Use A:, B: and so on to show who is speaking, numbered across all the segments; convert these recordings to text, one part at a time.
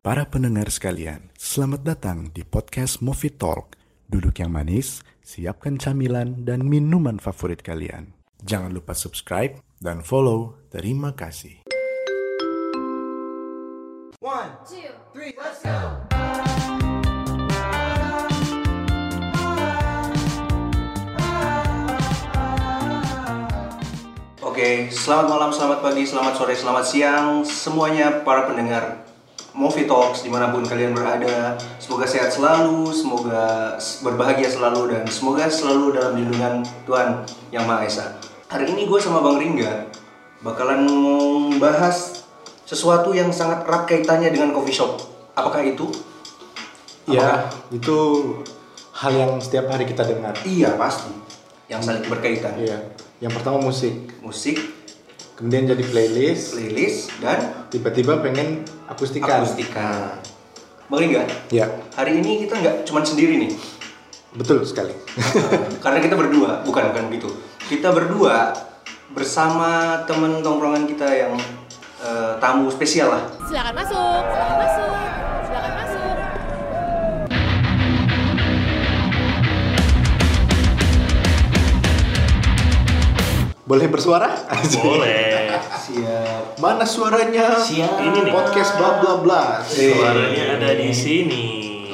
A: Para pendengar sekalian, selamat datang di podcast Movie Talk. Duduk yang manis, siapkan camilan dan minuman favorit kalian. Jangan lupa subscribe dan follow. Terima kasih.
B: One, two, three, let's go. Oke, selamat malam, selamat pagi, selamat sore, selamat siang semuanya para pendengar Movie Talks dimanapun kalian berada. Semoga sehat selalu, semoga berbahagia selalu dan semoga selalu dalam lindungan Tuhan Yang Maha Esa. Hari ini gue sama Bang Ringga bakalan membahas sesuatu yang sangat erat kaitannya dengan coffee shop. Apakah itu?
C: Ya, itu hal yang setiap hari kita dengar.
B: Iya pasti. Yang saling berkaitan.
C: Iya. Yang pertama musik,
B: Musik,
C: kemudian jadi playlist,
B: playlist, dan
C: tiba-tiba pengen akustikan.
B: akustika. Bang Ringga,
C: Ya,
B: hari ini kita nggak cuman sendiri nih.
C: betul sekali.
B: karena kita berdua bukan bukan begitu kita berdua bersama temen tongkrongan kita yang eh, tamu spesial lah
D: Silakan masuk, silakan masuk, silakan masuk.
C: Boleh bersuara?
E: Boleh.
B: siap
C: Mana suaranya?
B: siap
E: Ini nih.
C: Podcast bla bla bla.
B: Eh.
E: Suaranya ada di sini.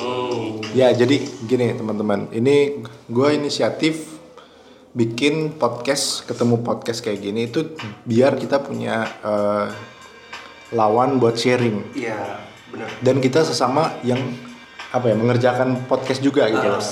B: Oh,
C: Ya, jadi gini teman-teman. Ini gue inisiatif bikin podcast, ketemu podcast kayak gini itu biar kita punya eh, lawan buat sharing.
B: iya benar
C: dan kita sesama yang apa ya mengerjakan podcast juga gitu
E: Ah.
C: loh.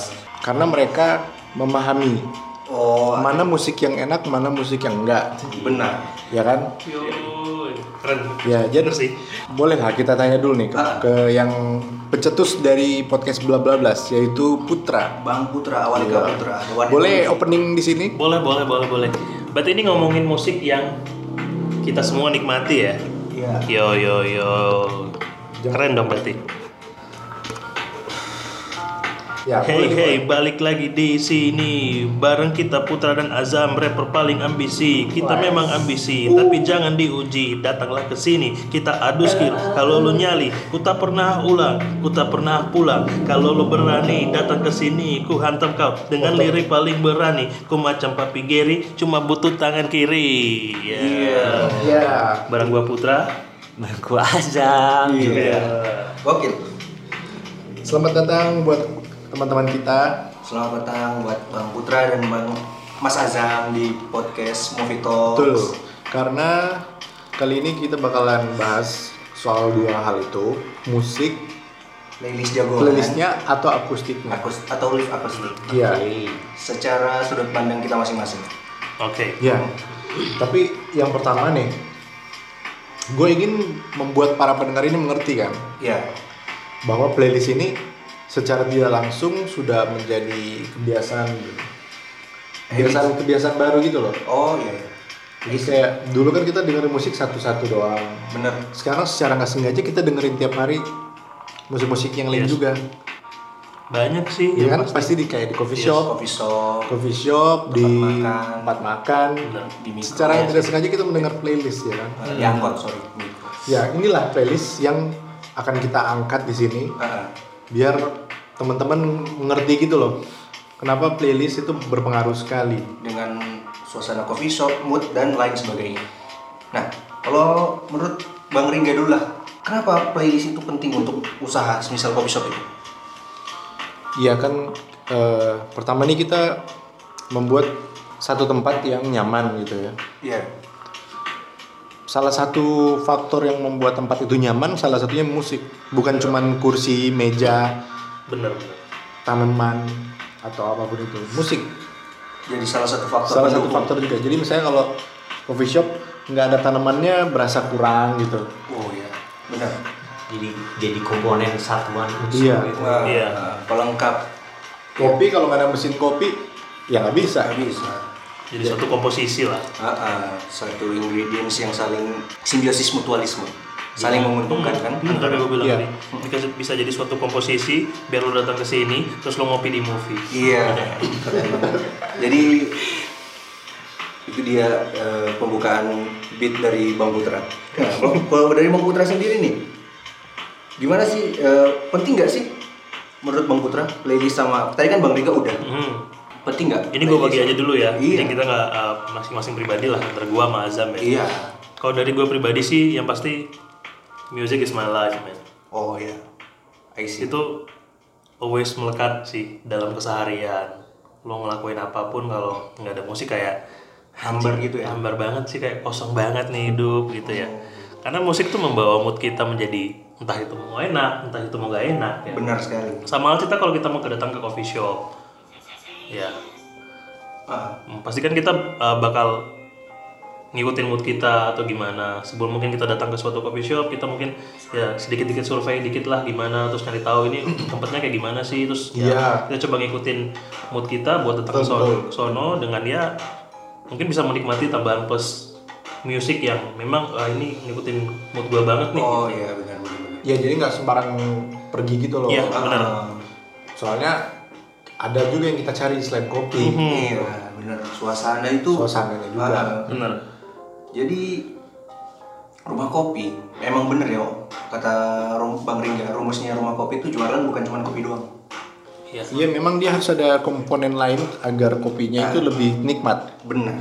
C: Karena mereka memahami
B: oh
C: mana musik yang enak, mana musik yang enggak,
B: benar
C: ya kan?
E: Yoi. Keren.
C: Ya, jadi
E: Bener sih.
C: bolehlah kita tanya dulu nih ke,
B: Ah.
C: ke yang pencetus dari podcast bla bla blas yaitu Putra.
B: bang putra awalika putra Dewan
C: Boleh
B: Evolusi.
C: opening di sini?
E: Boleh, boleh, boleh, boleh. Berarti ini ngomongin musik yang kita semua nikmati ya.
B: iya
E: Yo yo yo. Keren dong berarti.
C: Ya,
E: Hey
C: boleh.
E: hey, balik lagi di sini bareng kita Putra dan Azam rapper paling ambisi. Kita memang ambisi, tapi jangan diuji. Datanglah ke sini, kita adu skill. Kalau lu nyali, ku tak pernah ulang, ku tak pernah pulang. Kalau lu berani datang ke sini, ku hantam kau dengan lirik paling berani. Ku macam Papi Gary, cuma butuh tangan kiri. Ya.
C: Ya.
E: Bareng gua Putra, bareng gua Azam.
C: Iya.
B: gokil
C: Selamat datang buat teman-teman kita.
B: selamat datang buat bang putra dan bang mas azam di podcast movie talk
C: Betul. Karena kali ini kita bakalan bahas soal dua hal itu, musik
B: playlist jagoan
C: playlistnya atau akustiknya.
B: Akus- atau live akustik
C: Iya.
B: secara sudut pandang kita masing-masing
E: Oke.
C: Iya. Tapi yang pertama nih, gue ingin membuat para pendengar ini mengerti kan
B: iya
C: bahwa playlist ini secara tidak langsung sudah menjadi kebiasaan kebiasaan kebiasaan baru gitu loh.
B: oh iya iya.
C: Jadi kayak dulu kan kita dengerin musik satu-satu doang.
B: bener
C: Sekarang secara nggak sengaja kita dengerin tiap hari musik-musik yang lain
E: Yes.
C: juga.
E: Banyak sih.
C: Iya kan? Pasti di kayak di coffee shop,
B: Iya, coffee shop
C: coffee shop, di
B: makan.
C: tempat makan.
E: Bener.
B: di mikro
C: Secara yang tidak sengaja kita mendengar playlist ya kan.
B: Eh, di angkot sorry mikro
C: Ya inilah playlist yang akan kita angkat di sini
B: Ah, ah.
C: biar teman-teman mengerti gitu loh. Kenapa playlist itu berpengaruh sekali?
B: dengan suasana coffee shop mood dan lain sebagainya nah kalau menurut bang Ringga dulu lah kenapa playlist itu penting untuk usaha semisal coffee shop itu
C: Iya kan eh, pertama nih kita membuat satu tempat yang nyaman gitu ya.
B: iya
C: Salah satu faktor yang membuat tempat itu nyaman salah satunya musik. Bukan cuman kursi, meja,
E: Bener bener.
C: tanaman atau apapun itu. Musik
B: jadi salah satu faktor
C: salah satu
B: pendukung.
C: faktor juga. Jadi misalnya kalau coffee shop nggak ada tanamannya berasa kurang gitu.
B: oh iya benar
F: jadi jadi komponen satuan
C: Iya.
B: Wah,
E: Iya.
B: Nah, pelengkap
C: Kopi kalau nggak ada mesin kopi ya nggak bisa.
B: nggak bisa
E: Jadi suatu komposisi lah.
B: Ah, ah. satu ingredients yang saling simbiosis mutualisme saling
E: Hmm.
B: menguntungkan kan
E: Bener tadi gue bilang
C: Iya.
E: tadi. Dikasih- bisa jadi suatu komposisi biar lo datang ke sini terus lo ngopi di movie.
B: Iya. keren. Jadi itu dia eh,
E: Hmm.
B: pembukaan beat dari Bang Putra. Nah, kalau- kalau dari Bang Putra sendiri nih, Gimana sih eh, penting nggak sih menurut Bang Putra playlist sama tadi kan Bang Rika udah
E: Hmm.
B: penting nggak?
E: Ini gue bagi aja dulu ya.
B: Iya.
E: Jadi kita nggak uh, masing-masing pribadi lah antara gue sama Azam ya.
B: Iya.
E: Kalau dari gue pribadi sih yang pasti music is my life man.
B: Oh iya. I see.
E: Itu always melekat sih dalam keseharian. Lo ngelakuin apapun kalau nggak ada musik kayak
B: Hambar gitu ya.
E: hambar Iya, banget sih kayak kosong banget nih hidup gitu ya. Karena musik tuh membawa mood kita menjadi entah itu mau enak, entah itu mau gak enak ya.
B: Benar sekali.
E: Sama halnya kita kalau kita mau kedatang ke coffee shop. Ya,
B: Ah,
E: Hmm, Pasti kan kita uh, bakal ngikutin mood kita atau gimana sebelum mungkin kita datang ke suatu coffee shop kita mungkin ya sedikit-sedikit survei dikit lah gimana terus nyari tahu ini tempatnya kayak gimana sih terus ya,
C: Iya.
E: kita coba ngikutin mood kita buat datang ke sono, sono dengan ya mungkin bisa menikmati tambahan plus musik yang memang ah, ini ngikutin mood gua banget nih gitu.
B: oh iya benar benar. benar. Oh,
C: Ya jadi nggak sembarang pergi gitu loh.
E: iya benar
C: Soalnya ada juga yang kita cari selain kopi.
B: Iya benar. Suasana itu.
C: Suasananya juga.
B: Ah,
E: Hmm. benar
B: Jadi rumah kopi emang bener ya Om. kata Rom- Bang Ringga rumusnya rumah kopi itu jualan bukan cuma kopi doang.
E: iya
C: Iya memang dia harus ada komponen lain agar kopinya itu lebih nikmat.
B: Bener.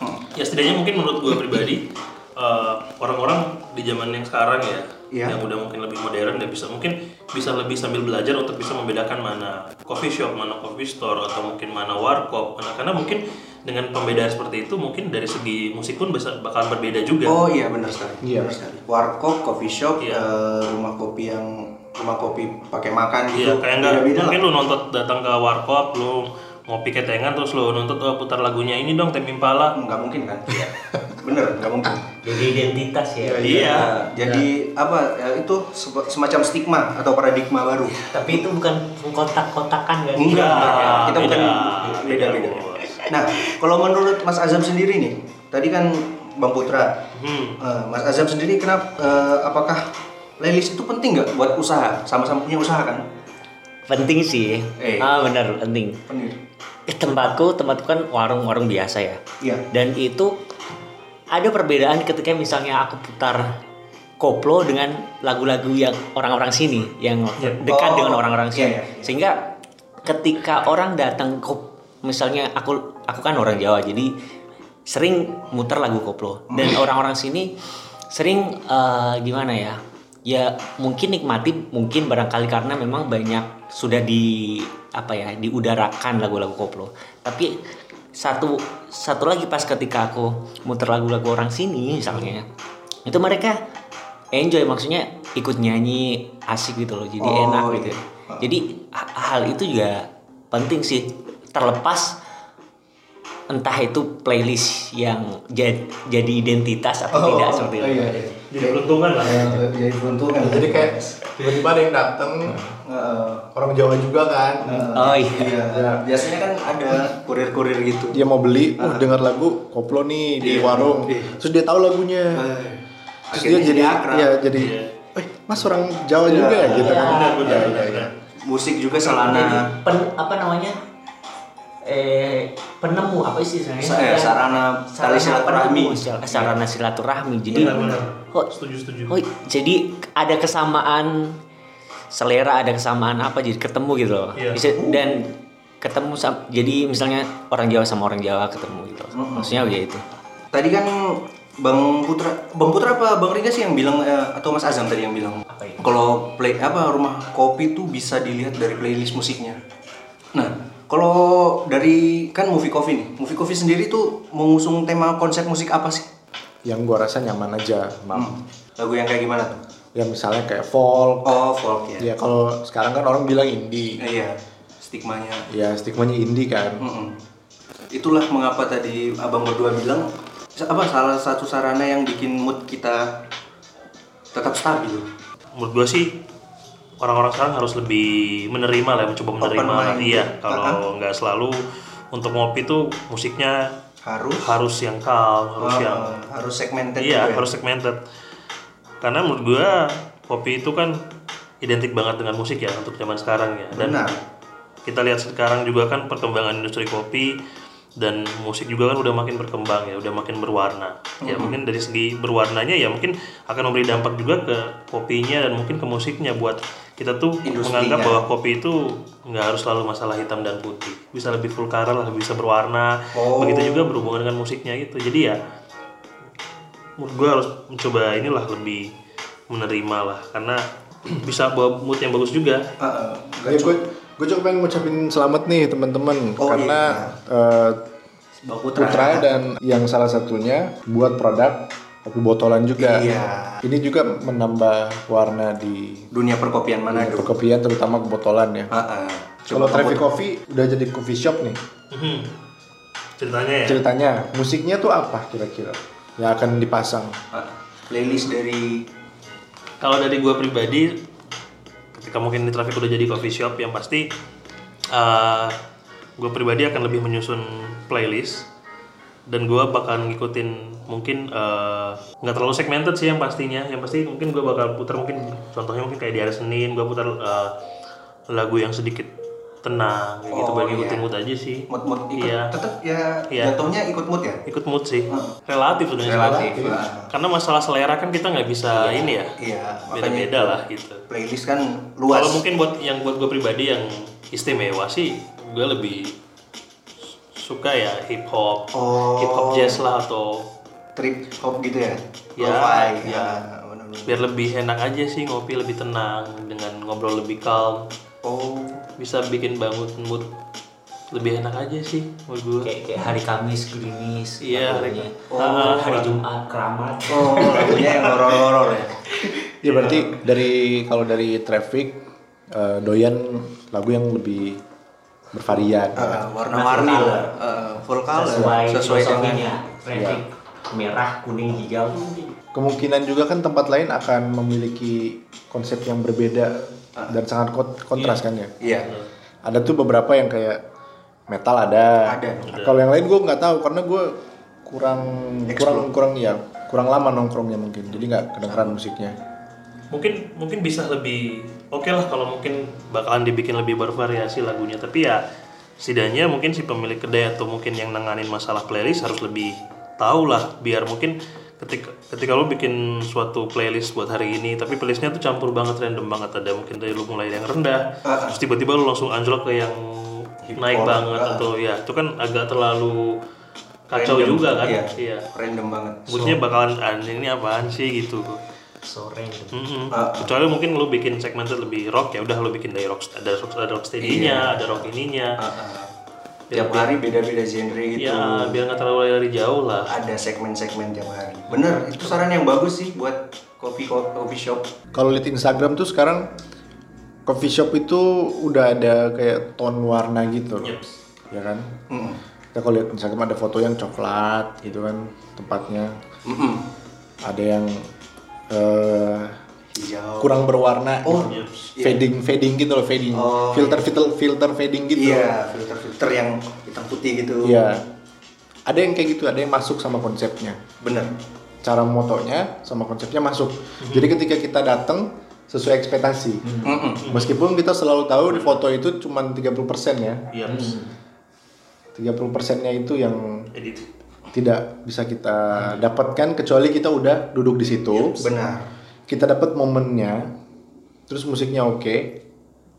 B: Hmm.
E: ya setidaknya mungkin menurut gue pribadi eh, orang-orang di zaman yang sekarang ya
B: Iya.
E: yang udah mungkin lebih modern dan bisa mungkin bisa lebih sambil belajar untuk bisa membedakan mana coffee shop mana coffee store atau mungkin mana warkop mana karena mungkin dengan pembedaan seperti itu mungkin dari segi musik pun bisa bakal berbeda juga
B: Oh iya bener sekali.
C: Iya.
B: Bener sekali. Warkop, coffee shop,
E: Iya.
B: eh, rumah kopi yang rumah kopi pakai makan gitu.
E: Iya, kayak nggak
B: beda
E: mungkin lu nonton datang ke warkop lu ngopi ketengan terus lu nuntut oh, putar lagunya ini dong Tem Impala
B: Nggak mungkin kan? bener nggak mungkin.
F: Jadi identitas ya.
E: iya
B: Nah, jadi apa ya, itu sep- semacam stigma atau paradigma baru.
F: Tapi itu bukan kotak-kotakan kan?
B: Enggak, kita
E: beda.
B: bukan
E: Beda,
B: beda-beda.
E: bos.
B: Nah, kalau menurut Mas Azam sendiri nih, tadi kan Bang Putra,
E: hmm.
B: eh, Mas Azam sendiri kenapa? eh, apakah playlist itu penting nggak buat usaha? Sama-sama punya usaha kan?
F: Penting sih.
B: Eh.
F: Ah benar penting. Eh,
B: Penting.
F: Tempatku tempatku kan warung-warung biasa ya.
B: Iya.
F: Dan itu ada perbedaan ketika misalnya aku putar koplo dengan lagu-lagu yang orang-orang sini yang dekat
B: Oh,
F: dengan orang-orang sini.
B: iya, iya.
F: Sehingga ketika orang datang ke misalnya aku aku kan orang Jawa jadi sering muter lagu koplo dan
B: Hmm.
F: orang-orang sini sering eh, gimana ya? Ya mungkin nikmati mungkin barangkali karena memang banyak sudah di apa ya diudarakan lagu-lagu koplo. Tapi satu satu lagi pas ketika aku muter lagu-lagu orang sini misalnya itu mereka enjoy maksudnya ikut nyanyi asik gitu loh jadi
B: Oh,
F: enak
B: iya.
F: gitu jadi ha- hal itu juga penting sih terlepas entah itu playlist yang jad- jadi
B: Oh,
F: identitas atau tidak seperti itu.
C: iya.
E: jadi peruntungan lah
B: Iya, jadi peruntungan. Eh,
C: Jadi kayak tiba-tiba ada yang dateng orang Jawa juga kan.
F: Oh iya.
B: Biasanya kan ada kurir-kurir gitu.
C: Dia mau beli, uh, dengar lagu koplo nih di
B: Iya.
C: warung.
B: Iya.
C: Terus dia tahu lagunya.
E: Iya.
C: Terus dia
B: Akhirnya
C: jadi
B: akrab. Iya.
C: ya jadi eh Mas orang Jawa juga ya gitu kan.
E: benar benar
C: Iya, iya,
E: benar,
C: iya.
E: benar.
B: Musik juga
F: Jadi
B: sarana,
F: pen- apa namanya? Eh penemu apa sih sebenarnya?
B: sa- eh, sarana tali silaturahmi. Eh,
F: penemu, sil- sarana silaturahmi. Jadi
E: Benar, benar.
F: kok
E: setuju setuju
F: Oh, jadi ada kesamaan selera, ada kesamaan apa jadi ketemu gitu loh.
E: Iya.
F: Bisa dan ketemu sam- jadi misalnya orang Jawa sama orang Jawa ketemu gitu. loh. Maksudnya ya itu.
B: Tadi kan Bang Putra, Bang Putra apa Bang Rika sih yang bilang eh, atau Mas Azam tadi yang bilang
F: Apa ya?
B: kalau play apa rumah kopi tuh bisa dilihat dari playlist musiknya. Nah, kalau dari kan movie coffee nih, movie coffee sendiri tuh mengusung tema konsep musik apa sih?
C: Yang gua rasa nyaman aja, Mam.
B: Hmm, Lagu yang kayak gimana tuh?
C: Ya misalnya kayak folk.
B: Oh, folk
C: Ya
B: ya.
C: kalau sekarang kan orang bilang indie.
B: Eh, Iya, stigmanya.
C: Ya stigmanya indie kan.
B: Mm-mm. Itulah mengapa tadi abang berdua bilang sa- apa salah satu sarana yang bikin mood kita tetap stabil.
E: menurut gue sih orang-orang sekarang harus lebih menerima lah ya, mencoba menerima
B: mind.
E: iya kalau nggak selalu untuk ngopi tuh musiknya
B: Harus
E: harus yang calm harus
B: Oh,
E: yang
B: harus segmented
E: iya
B: gitu ya?
E: harus segmented karena menurut gue kopi itu kan identik banget dengan musik ya untuk zaman sekarang ya dan
B: benar
E: kita lihat sekarang juga kan perkembangan industri kopi dan musik juga kan udah makin berkembang ya udah makin berwarna ya mungkin dari segi berwarnanya ya mungkin akan memberi dampak juga ke kopinya dan mungkin ke musiknya buat kita tuh
B: Industrinya.
E: menganggap bahwa kopi itu nggak harus selalu masalah hitam dan putih bisa lebih vulkaral lah bisa berwarna
B: Oh.
E: begitu juga berhubungan dengan musiknya gitu jadi ya menurut gue harus mencoba inilah lebih menerima lah karena bisa bawa mood yang bagus juga
B: Heeh.
C: Ya, gue gue juga pengen ngucapin selamat nih teman-teman
B: Oh,
C: karena eh,
B: Mbak Putra.
C: Putra dan yang salah satunya buat produk kopi botolan juga.
B: Iya.
C: Ini juga menambah warna di
B: Dunia perkopian mana dulu?
C: perkopian terutama kebotolan ya.
B: Heeh.
C: Kalau Traffic Coffee udah jadi coffee shop nih.
E: Mhm. ceritanya ya
C: Ceritanya musiknya tuh apa kira-kira yang akan dipasang?
B: Heeh. playlist dari
E: kalau dari gue pribadi ketika mungkin di traffic udah jadi coffee shop yang pasti gue pribadi akan lebih menyusun playlist dan gue bakal ngikutin mungkin eh, nggak terlalu segmented sih yang pastinya yang pasti mungkin gue bakal putar mungkin contohnya mungkin kayak di hari Senin gue putar eh, lagu yang sedikit tenang kayak gitu
B: Oh,
E: buat
B: iya.
E: ngikutin mood aja sih
B: mood-mood ikut
E: Iya.
B: tetap ya
E: Iya.
B: jatuhnya ikut mood ya?
E: ikut mood sih relatif sebenarnya
B: Relatif. lah.
E: karena masalah selera kan kita nggak bisa ini ya
B: Iya, makanya
E: beda-beda lah gitu
B: playlist kan luas.
E: Kalau mungkin buat yang buat gue pribadi yang istimewa sih, gue lebih suka ya hip hop,
B: Oh.
E: hip hop jazz lah atau
B: trip hop gitu ya?
E: Ya,
B: Lo-fi,
E: ya.
B: bener-bener.
E: biar lebih enak aja sih ngopi lebih tenang dengan ngobrol lebih calm
B: Oh,
E: bisa bikin bangun mood lebih enak aja sih menurut gue.
F: kayak, kayak hari Kamis gerimis
E: Iya, hari-
F: lagunya.
E: Oh,
F: hari Jumat keramat
B: oh lagunya yang horor-horor ya?
C: Ya berarti dari kalau dari Traffic eh, doyan lagu yang lebih bervarian. ya.
B: Eh, warna-warni
F: Full
B: lah, Eh, full color
F: sesuai,
B: sesuai dengan iya.
F: filosofinya Traffic merah kuning hijau
C: Kemungkinan juga kan tempat lain akan memiliki konsep yang berbeda dan sangat kot- kontras kan ya.
B: Ah, Iya.
C: Ada tuh beberapa yang kayak metal ada.
B: Ada.
C: Kalau yang lain gue nggak tahu karena gue kurang kurang kurang ya kurang lama nongkrongnya mungkin. Jadi nggak kedengeran musiknya.
E: mungkin mungkin bisa lebih oke lah kalau mungkin bakalan dibikin lebih bervariasi lagunya tapi ya setidaknya mungkin si pemilik kedai atau mungkin yang nanganin masalah playlist harus lebih tahu lah biar mungkin ketika ketika lo bikin suatu playlist buat hari ini tapi playlistnya tuh campur banget random banget ada mungkin dari lo mulai yang rendah
B: Ah.
E: terus tiba-tiba lo langsung anjlok ke yang naik banget atau ya itu kan agak terlalu
B: Ah.
E: kacau
B: Random,
E: juga kan
B: iya.
E: iya
B: Random banget.
E: moodnya bakalan "Ah, ini apaan sih gitu
F: sore gitu.
E: Mm-mm.
B: Ah.
E: Kecuali mungkin lu bikin segmented lebih rock ya udah lu bikin dari rock ada rock ada rock
B: Iya.
E: steady-nya, ada rock ininya.
B: Eh, Tiap hari beda-beda genre Ah, gitu.
E: Ya biar nggak terlalu lari jauh lah.
B: Ada segmen-segmen tiap hari. Bener, itu saran yang bagus sih buat kopi kopi shop.
C: Kalau lihat Instagram tuh sekarang coffee shop itu udah ada kayak tone warna gitu. loh. Ya kan?
B: Mm.
C: Kita kalau lihat Instagram ada foto yang coklat gitu kan tempatnya.
B: Mm-mm.
C: Ada yang eh,
B: Hijau.
C: kurang berwarna.
B: Oh,
C: gitu.
B: iya.
C: fading fading gitu loh, fading.
B: Oh,
C: filter filter filter fading gitu.
B: Iya, filter-filter yang hitam putih gitu.
C: Iya. Ada yang kayak gitu, ada yang masuk sama konsepnya.
B: Bener.
C: Cara motonya sama konsepnya masuk.
B: Mhm.
C: Jadi ketika kita datang sesuai ekspektasi.
B: Mm-mm.
C: Meskipun kita selalu tahu di foto itu cuma 30% ya.
E: Iya.
C: 30%-nya itu yang
E: Edit.
B: gitu.
C: tidak bisa kita dapatkan kecuali kita udah duduk di situ.
B: Iya, Benar.
C: Kita dapat momennya. Terus musiknya oke.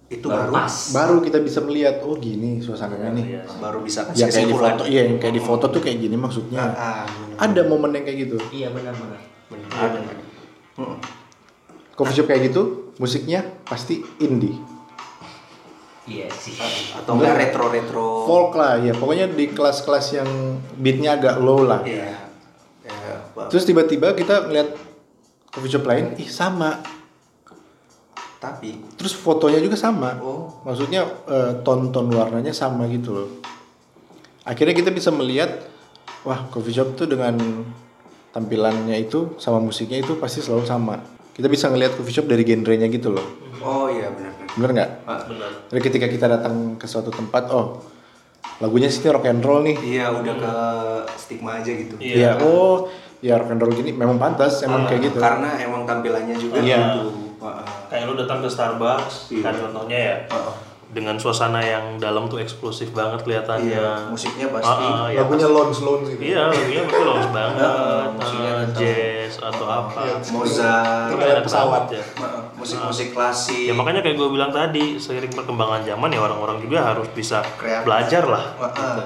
B: Itu baru baru,
C: Baru kita bisa melihat oh gini suasananya nih.
B: bisa
C: Yang kayak di
B: kasih Iya, kesimpulan.
C: foto, iya yang kayak di foto tuh kayak gini maksudnya.
B: Ah,
C: Ada momen yang kayak gitu.
F: iya benar benar
B: bener.
C: Iya.
B: Bener. Mm-mm.
C: Coffee shop kayak gitu, musiknya pasti indie.
F: iya sih
B: Atau enggak retro-retro.
C: Folk lah ya, pokoknya di kelas-kelas yang beatnya agak low lah.
B: Iya. Ya, Pak.
C: Terus tiba-tiba kita ngeliat coffee shop lain, ih sama.
B: tapi
C: Terus fotonya juga sama.
B: Oh.
C: Maksudnya eh, ton-ton warnanya sama gitu loh. Akhirnya kita bisa melihat, wah coffee shop tuh dengan tampilannya itu sama musiknya itu pasti selalu sama. Kita bisa ngelihat coffee shop dari genrenya gitu loh.
B: oh iya benar benar.
C: Bener nggak?
E: Mhm. Benar.
C: Jadi ketika kita datang ke suatu tempat, oh lagunya sih rock and roll nih.
B: Iya udah ke
E: Mhm.
B: stigma aja gitu.
C: Iya, oh ya rock and roll gini memang pantas, emang kayak gitu.
B: Ah, Karena emang tampilannya juga
C: Iya.
B: gitu. Heeh.
E: Kayak lu datang ke Starbucks, kan contohnya ya.
B: Heeh.
E: Iya. dengan suasana yang dalam tuh eksplosif banget kelihatannya.
B: Iya, musiknya pasti.
E: Ah, ah, ya,
C: Lagunya Lone Sloan gitu.
E: Iya, lagunya betul lounge banget,
B: Ah, musiknya Iya.
E: ah,
B: tentang-
E: jazz atau apa.
B: Mozart,
E: Itu enak
C: pesawat.
E: banget ya.
B: ma- musik-musik klasik.
E: Ya makanya kayak gue bilang tadi, seiring perkembangan zaman ya orang-orang juga harus bisa
B: Kreatif. Iya.
E: belajar lah.
B: Ah, ah. Dan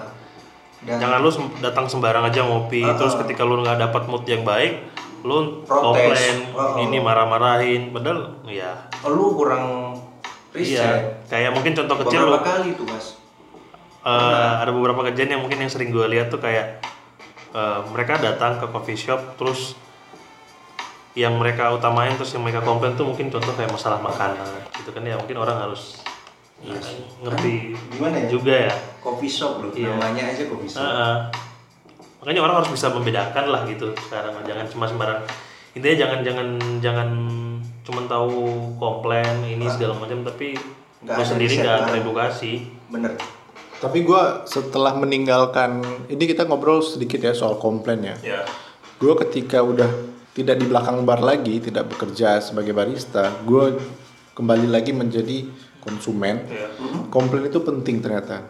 E: gitu. Jangan lu sem- datang sembarang aja ngopi, terus ketika lu nggak dapat mood yang baik, lu
B: Protes.
E: komplain,
B: Ah, ah.
E: ini marah-marahin, padahal ya.
B: lu kurang riset.
E: Iya, kayak mungkin contoh kecil lu
B: Beberapa Nah. kali tuh mas.
E: Eh, ada beberapa kejadian yang mungkin yang sering gue lihat tuh kayak eh, mereka datang ke coffee shop terus yang mereka utamain terus yang mereka komplain tuh mungkin contoh kayak masalah makanan gitu kan ya mungkin orang harus eh, ngerti
B: Gimana ya?
E: juga ya
B: Coffee shop loh,
E: Iya.
B: namanya aja coffee shop.
E: Heeh. makanya orang harus bisa membedakan lah gitu sekarang jangan cuma sembarang intinya jangan jangan jangan cuma tahu komplain ini segala macam tapi
B: Nggak
E: lu
B: ada
E: sendiri
B: riset,
E: nggak
B: kan?
E: teredukasi
B: Bener.
E: Iya,
C: Tapi gue setelah meninggalkan ini kita ngobrol sedikit ya soal komplain ya.
E: ya
C: Gue ketika udah tidak di belakang bar lagi, tidak bekerja sebagai barista, gue kembali lagi menjadi konsumen.
E: Iya.
C: Komplain itu penting ternyata.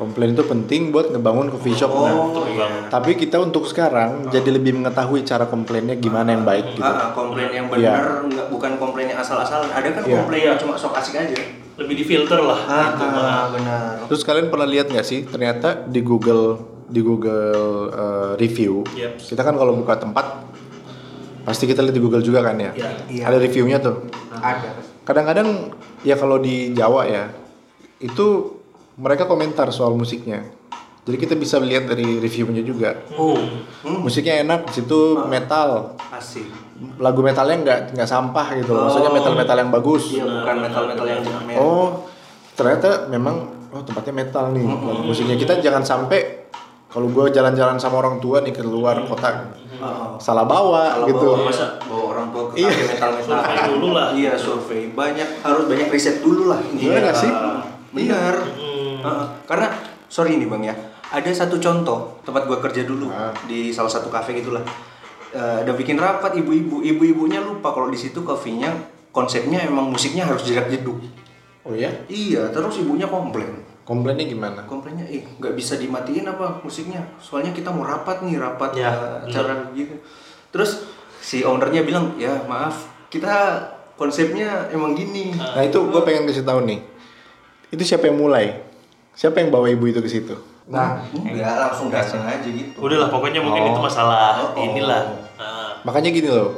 C: Komplain itu penting buat ngebangun coffee shop. Nah,
B: Oh, iya.
C: Tapi kita untuk sekarang jadi lebih mengetahui cara komplainnya gimana yang baik gitu.
B: Ah, ah, komplain yang bener, nggak bukan komplain yang asal-asalan. Ada kan
C: Iya.
B: komplain yang cuma sok asik aja.
E: lebih difilter lah
B: Ah,
E: gitu.
B: ah, bener.
C: Terus kalian pernah lihat nggak sih ternyata di Google di Google eh, review
B: Iya.
E: Yep.
C: kita kan kalau buka tempat pasti kita lihat di Google juga kan ya
B: Iya.
C: ada reviewnya tuh
B: Ada.
C: kadang-kadang ya kalau di Jawa ya itu mereka komentar soal musiknya jadi kita bisa lihat dari reviewnya juga
E: Oh,
B: Hmm.
C: musiknya enak di situ
B: Ah.
C: metal
B: Asik.
C: lagu metalnya nggak nggak sampah gitu loh maksudnya metal-metal yang bagus
B: Oh. Iya, bukan metal-metal yang jermen.
C: Oh, ternyata memang oh tempatnya metal nih. Lagu Musiknya kita jangan sampai kalau gue jalan-jalan sama orang tua nih ke luar kota
B: Ah, ah.
C: salah bawa
B: Kalau
C: gitu.
B: bawa masa bawa orang tua ke kafe metal-metal
E: Survei dulu lah.
B: Iya, survei. Banyak harus banyak riset dulu lah ini.
C: Bener nggak sih?
B: Benar.
E: Hmm.
B: karena sorry nih Bang ya. Ada satu contoh tempat gua kerja dulu di salah satu kafe gitulah. Eh, udah bikin rapat ibu-ibu, ibu-ibunya lupa kalau di situ kafenya konsepnya emang musiknya harus jerak jeduk.
C: Oh ya,
B: Iya, terus ibunya komplain.
C: komplainnya gimana?
B: komplainnya eh nggak bisa dimatiin apa musiknya soalnya kita mau rapat nih rapat
E: Ya,
B: eh, acara gitu terus si ownernya bilang ya maaf kita konsepnya emang gini
C: Nah itu gue pengen kasih tahu nih. Itu siapa yang mulai? Siapa yang bawa ibu itu ke situ?
B: nah nggak langsung datang aja gitu
E: udahlah pokoknya mungkin itu masalah
B: Oh, oh.
E: inilah. Ah,
C: Makanya gini loh,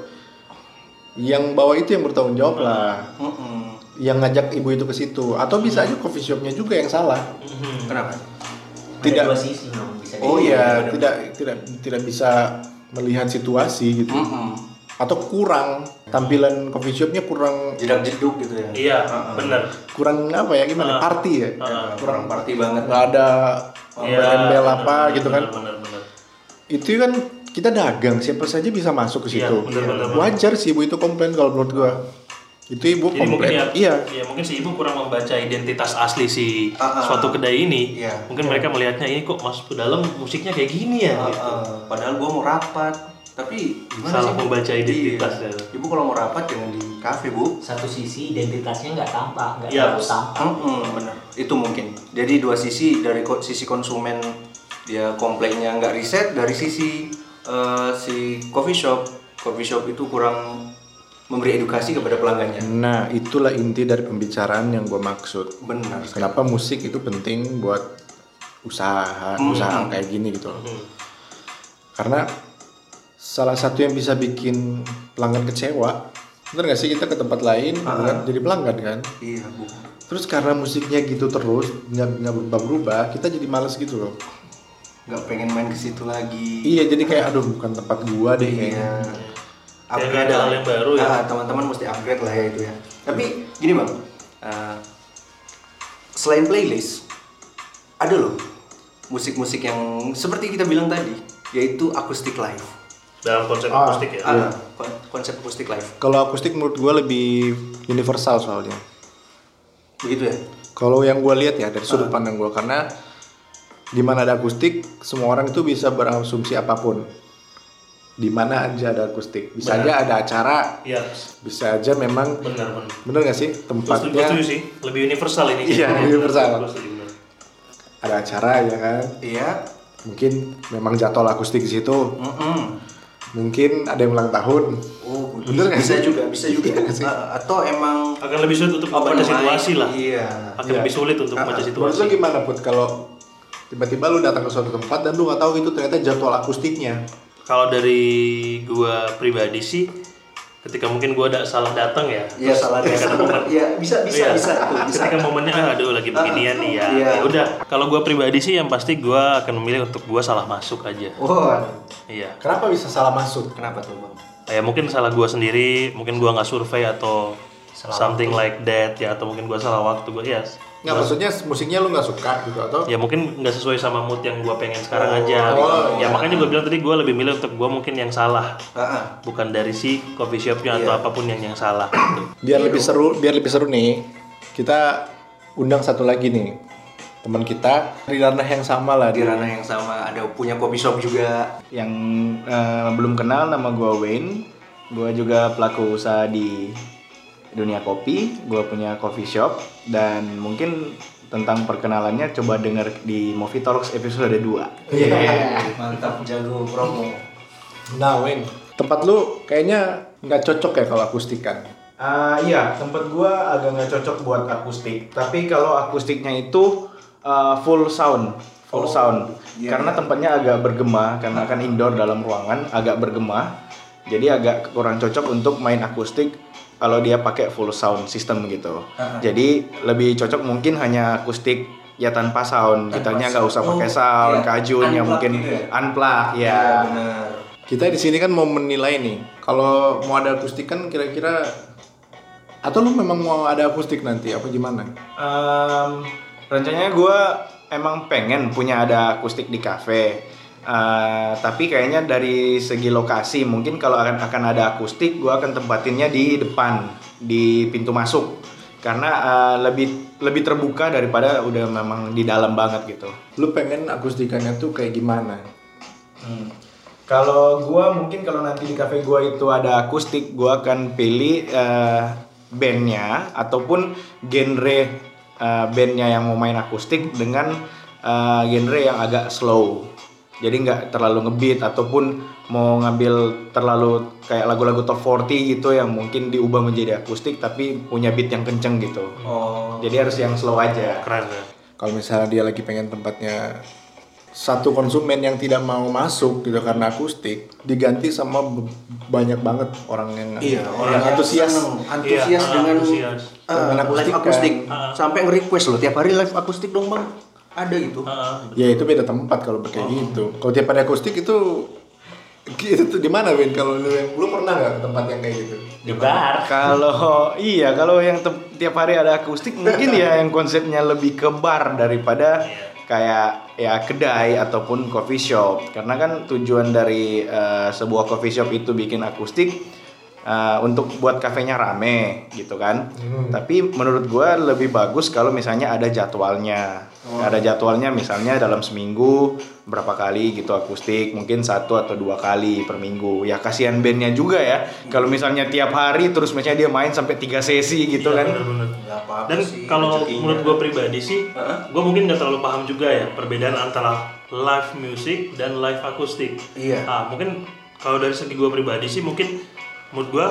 C: yang bawa itu yang bertanggung jawab lah.
B: Mm-mm.
C: Yang ngajak ibu itu ke situ, atau bisa aja coffee shopnya juga yang salah.
B: kenapa
C: Tidak-
F: Ada dua sisi dong, bisa
C: Oh
F: di-
C: iya, tidak tidak tidak bisa melihat situasi gitu.
B: Mm-mm.
C: atau kurang
E: Hmm.
C: tampilan coffee shopnya kurang
B: jedak jeduk gitu ya
E: Iya, bener.
C: kurang apa ya
E: Ah.
C: gimana party ya
B: kurang party banget
C: nggak ada
E: Iya.
C: embel-embel apa gitu kan
E: Bener, bener.
C: itu kan kita dagang siapa saja bisa masuk ke
E: Iya,
C: situ
E: bener, bener, bener.
C: wajar sih ibu itu komplain kalau menurut gua itu
B: Oh,
C: ibu
E: Jadi mungkin ya,
C: komplain iya
E: ya, mungkin si ibu kurang membaca identitas asli si
B: Ah, ah.
E: suatu kedai ini.
B: Iya.
E: Mungkin mereka melihatnya ini kok masuk ke dalam musiknya kayak gini ya.
B: Ah,
E: gitu.
B: ah. padahal gua mau rapat tapi gimana
E: Salah
B: sih, Bu?
E: membaca identitas
B: Iya.
E: ya.
B: ibu kalau mau rapat jangan di kafe bu
F: Satu sisi identitasnya nggak tampak, nggak
E: Iya.
F: terlalu tampak.
B: Mm-mm, benar. Itu mungkin. Jadi dua sisi dari ko- sisi konsumen dia komplainnya nggak riset, dari sisi eh, si coffee shop, coffee shop itu kurang memberi edukasi kepada pelanggannya.
C: nah itulah inti dari pembicaraan yang gua maksud
B: Benar.
C: kenapa musik itu penting buat usaha usaha kayak gini gitu loh. karena salah satu yang bisa bikin pelanggan kecewa bener gak sih kita ke tempat lain bukan jadi pelanggan kan
B: Iya, Bu.
C: terus karena musiknya gitu terus nggak nggak berubah berubah kita jadi males gitu loh
B: Nggak pengen main ke situ lagi.
C: iya jadi kayak aduh bukan tempat gua deh
B: Iya.
C: kayaknya
E: Iya. Kayak nggak ada hal yang baru ya.
B: Ah, teman-teman mesti upgrade lah ya itu ya. Tapi gini, Bang. Eh, selain playlist, ada loh musik-musik yang seperti kita bilang tadi, yaitu acoustic live.
E: Dalam konsep
C: Ah.
E: akustik ya.
B: Ah, kon- konsep akustik live
C: kalau akustik menurut gua lebih universal soalnya
B: begitu ya
C: kalau yang gua lihat ya dari sudut pandang gua karena di mana ada akustik semua orang itu bisa berasumsi apapun di mana aja ada akustik. Bisa aja ada acara,
E: Iya,
C: bisa aja memang
E: benar benar.
C: bener nggak sih
E: Gue setuju, gue setuju
C: tempatnya
E: sih, lebih universal ini.
C: Iya,
E: kayaknya.
C: universal.
E: Gue setuju, benar.
C: ada acara ya kan.
B: Iya.
C: Mungkin memang jadwal akustik di situ.
B: Mm-mm.
C: Mungkin ada yang ulang tahun.
B: Oh,
C: Bener nggak
B: bisa
C: sih?
B: juga, bisa juga.
C: Iya nggak sih?
B: A- atau emang
E: Akan lebih sulit untuk membaca
B: open mic.
E: situasi lah.
B: Iya.
E: Akan
C: Iya.
E: lebih sulit untuk
C: Ah,
E: membaca
C: ah.
E: situasi.
C: Menurut lu gimana put kalau tiba-tiba lu datang ke suatu tempat dan lu nggak tahu itu ternyata jadwal akustiknya?
E: Kalau dari gua pribadi sih, ketika mungkin gua ada salah datang ya.
B: Iya,
E: terus
B: salah
E: ketika
B: datang.
E: momen-
B: Iya, bisa, bisa,
E: Iya,
B: bisa, itu, bisa.
E: Ketika momennya ah, aduh lagi beginian nih ya.
B: Iya.
E: Ya udah, kalau gua pribadi sih yang pasti gua akan memilih untuk gua salah masuk aja.
B: Wah,
E: Iya.
C: Kenapa bisa salah masuk?
B: kenapa tuh bang?
E: Ya mungkin salah gua sendiri, mungkin gua nggak survei atau something like that ya atau mungkin gua salah waktu gua ya.
C: Nggak maksudnya musiknya lu nggak suka gitu atau?
E: ya mungkin nggak sesuai sama mood yang gua pengen sekarang
C: Oh,
E: aja gitu.
C: oh,
E: ya makanya gua bilang tadi gua lebih milih untuk gua mungkin yang salah
B: Ah,
E: bukan dari si coffee shopnya atau apapun yang yang salah gitu.
C: Biar lebih seru, biar lebih seru nih, kita undang satu lagi nih teman kita di ranah yang sama lah di
B: di ranah yang sama ada punya kopi shop juga.
G: yang eh, belum kenal nama gua Wayne gua juga pelaku usaha di dunia kopi gua punya coffee shop dan mungkin tentang perkenalannya coba dengar di Movie Talks episode 2
B: Mantap jago promo.
C: Nah, Win. Tempat lu kayaknya nggak cocok ya kalau akustikan.
G: Ah iya, tempat gua agak nggak cocok buat akustik. Tapi kalau akustiknya itu ah, full sound,
B: Oh,
G: full sound.
B: iya,
G: Karena tempatnya agak bergema, karena kan indoor dalam ruangan, agak bergema. Jadi agak kurang cocok untuk main akustik kalau dia pakai full sound system gitu. Jadi lebih cocok mungkin hanya akustik ya tanpa sound. Kitanya nggak usah pakai
B: Oh,
G: sound,
B: iya.
G: kajunnya
B: Unplug
G: mungkin
B: gitu ya?
G: unplug ya.
B: benar.
C: Kita di sini kan mau menilai nih. Kalau mau ada akustikan kira-kira atau lu memang mau ada akustik nanti apa gimana?
G: Em, rencananya gue emang pengen punya ada akustik di kafe. Eh, tapi kayaknya dari segi lokasi mungkin kalau akan akan ada akustik gue akan tempatinnya di depan di pintu masuk karena eh, lebih lebih terbuka daripada udah memang di dalam banget gitu.
C: Lu pengen akustikannya tuh kayak gimana?
G: Hmm. Kalau gua mungkin kalau nanti di cafe gua itu ada akustik, gua akan pilih eh, bandnya ataupun genre eh, bandnya yang mau main akustik dengan eh, genre yang agak slow. Jadi nggak terlalu ngebeat ataupun mau ngambil terlalu kayak lagu-lagu top 40 gitu yang mungkin diubah menjadi akustik tapi punya beat yang kenceng gitu.
B: Oh,
G: Jadi harus yang slow aja.
E: keren ya.
C: Kalau misalnya dia lagi pengen tempatnya satu konsumen yang tidak mau masuk gitu karena akustik diganti sama b- banyak banget orang yang
B: iya orang
C: yang antusias
B: seneng, antusias
E: Iya,
B: dengan
E: antusias.
B: eh,
C: Dengan akustik,
B: live
C: kan?
B: akustik. Sampai nge-request loh tiap hari live akustik dong bang. Ada gitu.
C: ya itu beda tempat kalau
B: Oh.
C: kayak gitu kalau tiap ada akustik itu itu tuh di mana Win kalau lu lu pernah nggak ke tempat yang kayak gitu
F: di bar
G: Kalau iya, kalau yang tep- tiap hari ada akustik mungkin ya yang konsepnya lebih ke bar daripada kayak ya kedai ataupun coffee shop. Karena kan tujuan dari eh, sebuah coffee shop itu bikin akustik eh, untuk buat kafenya rame gitu kan.
C: Hmm.
G: Tapi menurut gua lebih bagus kalau misalnya ada jadwalnya.
C: Oh.
G: Ada jadwalnya misalnya dalam seminggu berapa kali gitu akustik, mungkin satu atau dua kali per minggu. Ya kasihan bandnya juga ya. Kalau misalnya tiap hari terus misalnya dia main sampai tiga sesi gitu
E: Iya,
G: kan.
E: bener-bener.
B: Nggak apa-apa
E: Dan
B: sih,
E: kalau
B: rezekinya.
E: menurut gue pribadi sih, gue mungkin nggak terlalu paham juga ya perbedaan antara live music dan live akustik.
B: Iya.
E: Ah, mungkin kalau dari segi gue pribadi sih mungkin menurut gue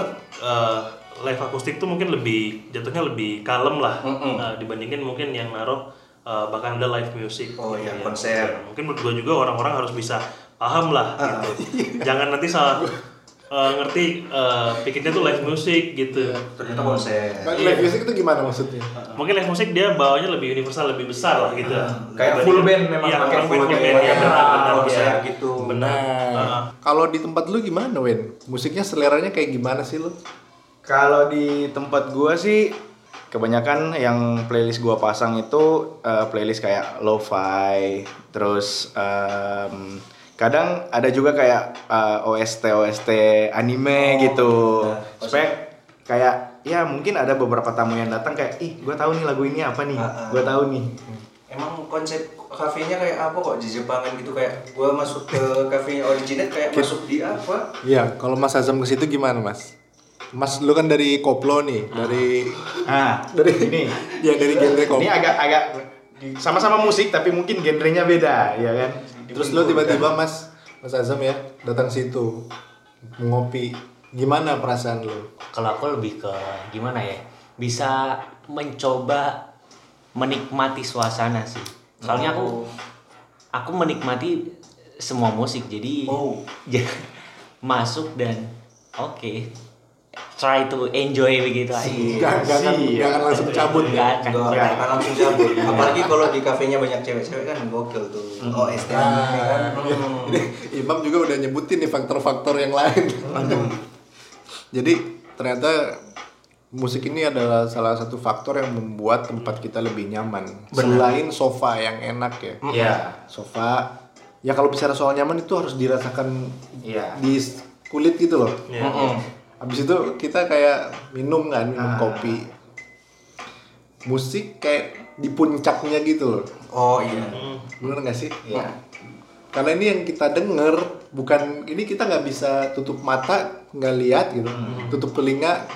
E: live akustik tuh mungkin lebih jatuhnya lebih kalem lah ah, dibandingin mungkin yang naruh eh, bahkan ada live music.
B: Oh,
E: Iya,
B: iya, konser. Ah,
E: Mungkin menurut gue juga orang-orang harus bisa paham lah gitu.
B: iya.
E: Jangan nanti salah eh, ngerti eh, pikirnya tuh live music gitu.
B: Ternyata konser. Iya,
C: Kan live music itu gimana maksudnya
E: Mungkin live musik dia bawanya lebih universal, lebih besar lah gitu.
G: Ah, Kayak
E: Dibandingin-
G: full band memang,
E: Iya,
G: pakai
E: orang full
G: full
E: band,
G: band. Ah,
E: ya benar benar
B: konser
E: benar.
B: gitu.
E: Benar.
C: nah
E: Ah.
C: kalau di tempat lu gimana Win musiknya seleranya kayak gimana sih lu
G: Kalau di tempat gua sih kebanyakan yang playlist gua pasang itu eh, playlist kayak lo-fi, terus em, kadang ada juga kayak eh, OST OST anime gitu. Spek kayak ya mungkin ada beberapa tamu yang datang kayak ih gua tahu nih lagu ini apa nih,
B: Ah, ah.
G: gua tahu nih.
B: Emang konsep kafenya kayak apa kok di Jepangan gitu kayak gua masuk ke kafenya originate kayak masuk di apa?
C: Iya, kalau Mas Azam ke situ gimana, Mas? Mas lu kan dari koplo nih, dari
G: Ah,
C: dari
G: ini.
C: Ya dari genre koplo.
G: Ini agak agak sama-sama musik tapi mungkin genrenya beda, ya kan?
C: Terus lu tiba-tiba Mas Mas Azam ya datang situ ngopi. Gimana perasaan lu?
F: kalau aku lebih ke gimana ya bisa mencoba menikmati suasana sih soalnya aku aku menikmati semua musik jadi
B: Oh.
F: ja- masuk dan oke try to enjoy begitu aja
C: Gak, gak akan,
G: Iya.
C: gak akan langsung cabut ya.
F: Enggak kan
B: Enggak, akan langsung cabut. Apalagi kalau di kafenya banyak cewek-cewek kan gokil tuh. Oh, STM ya kan.
C: Ini Imam juga udah nyebutin nih faktor-faktor yang lain. Jadi ternyata musik ini adalah salah satu faktor yang membuat tempat kita lebih nyaman. Selain sofa yang enak ya.
G: Iya.
C: Sofa ya kalau bicara soal nyaman itu harus dirasakan
G: Iya.
C: di kulit gitu loh.
E: Iya.
C: Habis itu kita kayak minum kan,
G: Ah.
C: minum kopi. Musik kayak di puncaknya gitu loh.
B: Oh iya.
C: Bener gak sih? Iya. Karena ini yang kita denger bukan ini kita nggak bisa tutup mata nggak lihat gitu,
G: Hmm.
C: tutup telinga.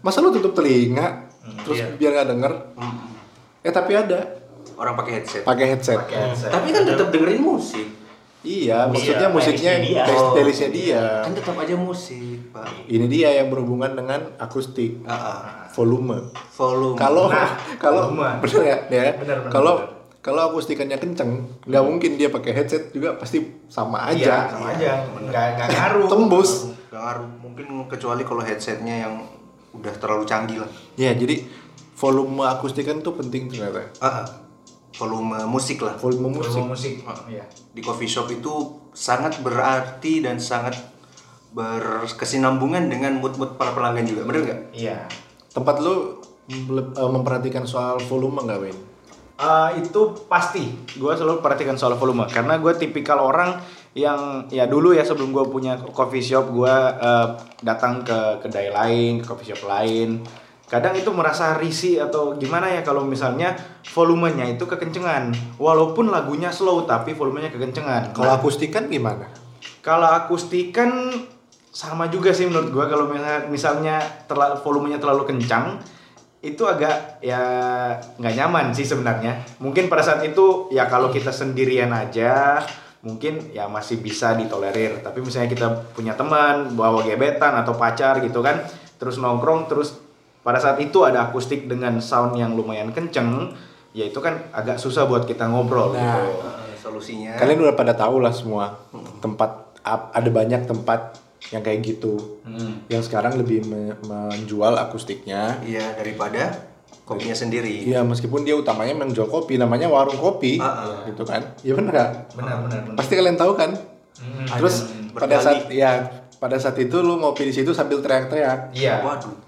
C: Masa lu tutup telinga
G: Hmm,
C: terus
G: iya.
C: biar nggak denger? Eh tapi ada
B: Orang pakai headset.
C: pakai headset.
B: Tapi kan tetap dengerin musik. Oh.
C: Iya, maksudnya
E: Iya,
C: musiknya
E: playlistnya dia.
G: Oh,
C: playlist-
G: iya.
C: playlistnya dia.
B: Kan tetap aja musik, Pak.
C: Ini dia yang berhubungan dengan akustik,
B: Ah, ah.
C: volume.
B: Volume.
C: Nah, Kalau kalau
G: Nah. volume.
C: bener ya, ya.
G: Bener, bener,
C: Kalau kalau akustikannya kenceng, nggak mungkin dia pakai headset juga pasti sama aja.
G: Iya, sama aja. Enggak enggak ngaruh.
C: Tembus.
B: Nggak ngaruh. Mungkin kecuali kalau headsetnya yang udah terlalu canggih lah.
C: Ya, jadi volume akustikan tuh penting ternyata.
B: Ah, ah. volume musik lah.
C: Volume musik.
G: Musik. musik.
C: Oh,
G: Iya.
B: Di coffee shop itu sangat berarti dan sangat berkesinambungan dengan mood-mood para pelanggan juga, bener nggak?
G: Iya.
C: Tempat lu mele- eh, memperhatikan soal volume nggak, Win?
G: Eh, itu pasti gue selalu perhatikan soal volume karena gue tipikal orang yang ya dulu ya sebelum gue punya coffee shop gue datang ke kedai lain ke coffee shop lain kadang itu merasa risih atau gimana ya kalau misalnya volumenya itu kekencengan walaupun lagunya slow tapi volumenya kekencengan Nah,
C: Kalau akustikan gimana?
G: kalau akustikan sama juga sih menurut gua kalau misalnya, misalnya terla- volumenya terlalu kencang itu agak ya nggak nyaman sih sebenarnya. Mungkin pada saat itu ya kalau kita sendirian aja mungkin ya masih bisa ditolerir. Tapi misalnya kita punya teman, bawa gebetan atau pacar gitu kan, terus nongkrong terus pada saat itu ada akustik dengan sound yang lumayan kenceng, ya itu kan agak susah buat kita
C: Nah.
G: ngobrol gitu.
B: Ah, solusinya.
C: Kalian udah pada tahu lah semua tempat ap- ada banyak tempat yang kayak gitu. Yang sekarang lebih me- menjual akustiknya.
B: Iya daripada kopinya sendiri.
C: Iya, meskipun dia utamanya menjual kopi, namanya warung kopi,
B: Ah,
C: gitu kan? Iya bener nggak?
G: Benar benar benar.
C: Pasti kalian tahu kan? Terus pada
B: Berdalih.
C: saat ya pada saat itu lu ngopi di situ sambil teriak-teriak.
G: Iya.
B: Waduh.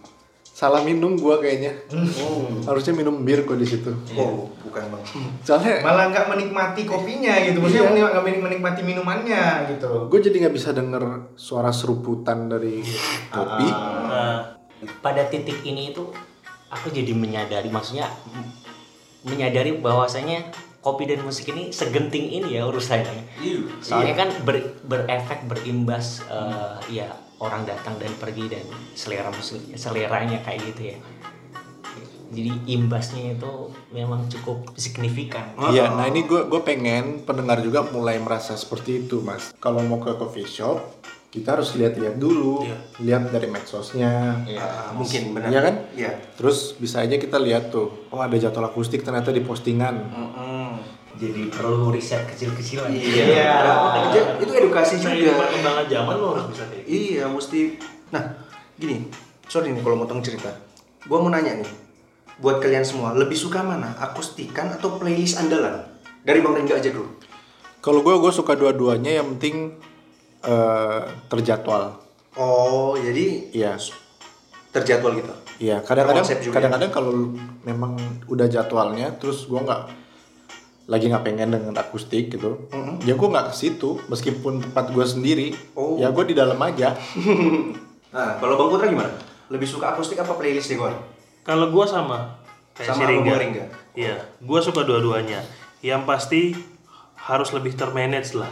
C: salah minum gua kayaknya
B: Hmm.
C: harusnya minum bir gua di situ
B: Oh, bukan bang.
C: soalnya
G: malah nggak menikmati kopinya gitu maksudnya menik- nggak menik- menikmati minumannya gitu
C: gue jadi nggak bisa denger suara seruputan dari kopi
B: Ah,
F: Nah. Eh, pada titik ini itu aku jadi menyadari maksudnya m- menyadari bahwasanya kopi dan musik ini segenting ini ya urusannya soalnya kan ber- berefek berimbas eh, ya orang datang dan pergi dan selera musik seleranya kayak gitu ya jadi imbasnya itu memang cukup signifikan
B: ah.
C: iya nah ini gue gue pengen pendengar juga mulai merasa seperti itu mas kalau mau ke coffee shop kita harus lihat-lihat dulu lihat dari medsosnya
B: Ah, Iya. mungkin benar.
C: Iya kan?
B: Iya.
C: terus bisa aja kita lihat tuh oh ada jadwal akustik ternyata di postingan
B: Mm-mm.
F: jadi perlu riset kecil-kecilan
G: Iya.
B: Ah, ja- Itu edukasi
F: Iya.
E: Seiring
B: juga.
E: perkembangan zaman lo harus bisa kayak gitu.
B: Iya, mesti. Nah, gini. Sorry nih kalau motong cerita. Gua mau nanya nih. Buat kalian semua, lebih suka mana? Akustikan atau playlist andalan? Dari Bang Rengga aja dulu.
C: kalau gue gue suka dua-duanya yang penting eh, terjadwal
B: Oh, jadi
C: iya
B: terjadwal gitu.
C: Iya, kadang-kadang
B: Konsep juga.
C: kadang-kadang kalau memang udah jadwalnya terus gua nggak lagi nggak pengen dengan akustik gitu. Ya gua nggak ke situ meskipun tempat gua sendiri.
B: Oh.
C: Ya gua di dalam aja.
B: Nah, kalau Bang Putra gimana? Lebih suka akustik apa playlist deh, Gon?
E: Kalau gua sama
B: Sama
E: si
B: apa
E: Ringga.
B: gua Ringga?
E: Iya, gua suka dua-duanya. yang pasti harus lebih termanage lah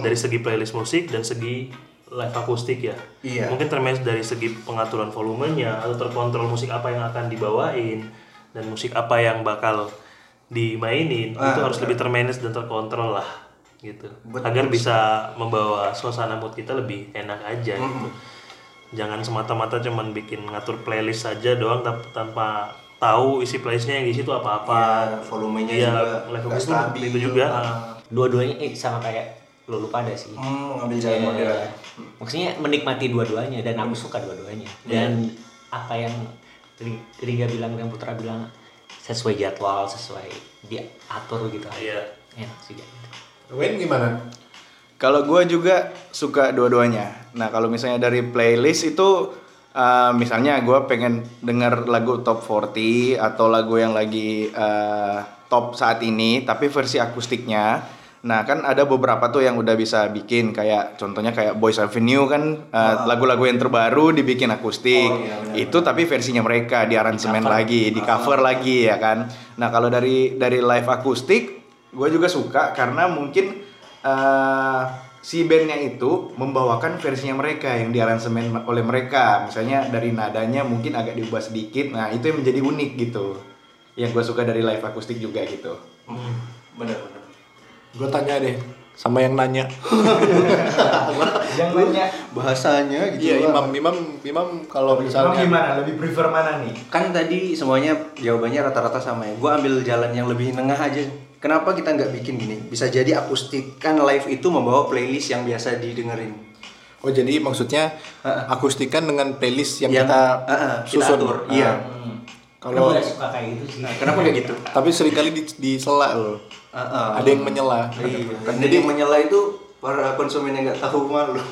E: dari segi playlist musik dan segi live akustik ya
B: Iya.
E: mungkin termanage dari segi pengaturan volumenya atau terkontrol musik apa yang akan dibawain dan musik apa yang bakal dimainin itu harus lebih termanage dan terkontrol lah gitu agar bisa membawa suasana mood kita lebih enak aja gitu jangan semata-mata cuman bikin ngatur playlist saja doang tap- tanpa tahu isi playlistnya yang di situ apa-apa
B: volumenya
E: Iya,
B: juga
E: live
B: nggak
E: akustik itu juga.
B: Ah.
F: dua-duanya eh sama kayak lo lupa ada sih
B: Hmm, ngambil jalan model.
F: Iya. Maksudnya menikmati dua-duanya dan aku suka dua-duanya. Dan apa yang Ri- Riga bilang dan Putra bilang sesuai jadwal, sesuai diatur gitu.
E: Iya.
F: Enak sih kayak gitu.
C: Wayne gimana?
G: Kalau gue juga suka dua-duanya. Nah kalau misalnya dari playlist itu, eh, misalnya gue pengen denger lagu top 40 atau lagu yang lagi eh, top saat ini, tapi versi akustiknya. Nah kan ada beberapa tuh yang udah bisa bikin kayak contohnya kayak Boys Avenue kan eh, lagu-lagu yang terbaru dibikin akustik. itu tapi versinya mereka di aransemen lagi, di cover lagi ya kan. Nah kalau dari dari live akustik, gue juga suka karena mungkin eh si bandnya itu membawakan versinya mereka yang diaransemen oleh mereka misalnya dari nadanya mungkin agak diubah sedikit nah itu yang menjadi unik gitu yang gue suka dari live akustik juga gitu
B: Bener bener.
C: Gue tanya deh sama yang nanya.
G: yang lainnya
B: Bahasanya gitu.
C: Iya
B: lah.
C: Imam, Imam, Imam kalau misalnya
G: gimana lebih prefer mana nih
B: Kan tadi semuanya jawabannya rata-rata sama ya. Gue ambil jalan yang lebih nengah aja. Kenapa kita nggak bikin gini? Bisa jadi akustik kan live itu membawa playlist yang biasa didengerin.
C: Oh jadi maksudnya akustikan dengan playlist yang,
B: Yang-
C: kita
B: Ah, ah, kita
C: susun.
B: atur,
C: Ah.
B: iya.
C: Kalau
F: Kenapa gak suka kayak gitu sih.
B: Kenapa nggak gitu?
C: tapi seringkali di, disela loh.
B: Ah, ah.
C: Ada yang menyela.
B: Iya.
C: Kan
B: Jadi
C: jadi
B: menyela itu para konsumen yang nggak tahu Iya, malu.